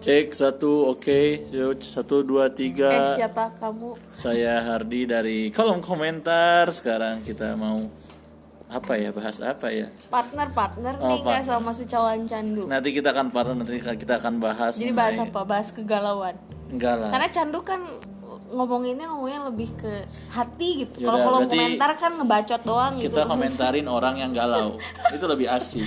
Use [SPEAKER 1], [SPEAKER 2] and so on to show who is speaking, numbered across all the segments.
[SPEAKER 1] Cek satu, oke. Yuk, Satu, dua,
[SPEAKER 2] Eh
[SPEAKER 1] tiga.
[SPEAKER 2] siapa kamu?
[SPEAKER 1] Saya Hardi dari kolom komentar. Sekarang kita mau apa ya? Bahas apa ya?
[SPEAKER 2] Partner partner
[SPEAKER 1] Oh, Nah,
[SPEAKER 2] nih nggak
[SPEAKER 1] partner.
[SPEAKER 2] sama si cawan candu.
[SPEAKER 1] Nanti kita akan parah. Nanti kita akan bahas.
[SPEAKER 2] Jadi bahas
[SPEAKER 1] mengenai-
[SPEAKER 2] apa? Bahas kegalauan.
[SPEAKER 1] Enggak lah.
[SPEAKER 2] Karena candu kan ngomonginnya ngomongnya lebih ke hati gitu.
[SPEAKER 1] Yaudah,
[SPEAKER 2] Kalau kalau
[SPEAKER 1] berarti
[SPEAKER 2] komentar kan ngebacot doang gitu.
[SPEAKER 1] Kita komentarin orang yang galau. Itu lebih asik.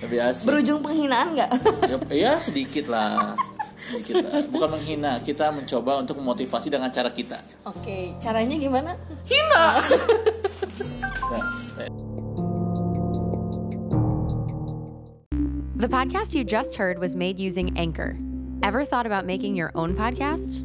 [SPEAKER 1] Lebih asik.
[SPEAKER 2] Berujung penghinaan nggak?
[SPEAKER 1] Ya- Ya sedikit lah. Sedikit lah. Bukan menghina. Kita mencoba untuk memotivasi dengan cara kita.
[SPEAKER 2] Oke, caranya gimana?
[SPEAKER 1] Nah,
[SPEAKER 3] The podcast you just heard was made using Anchor. Ever thought about making your own podcast?